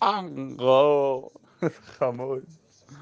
Ango. Jamón.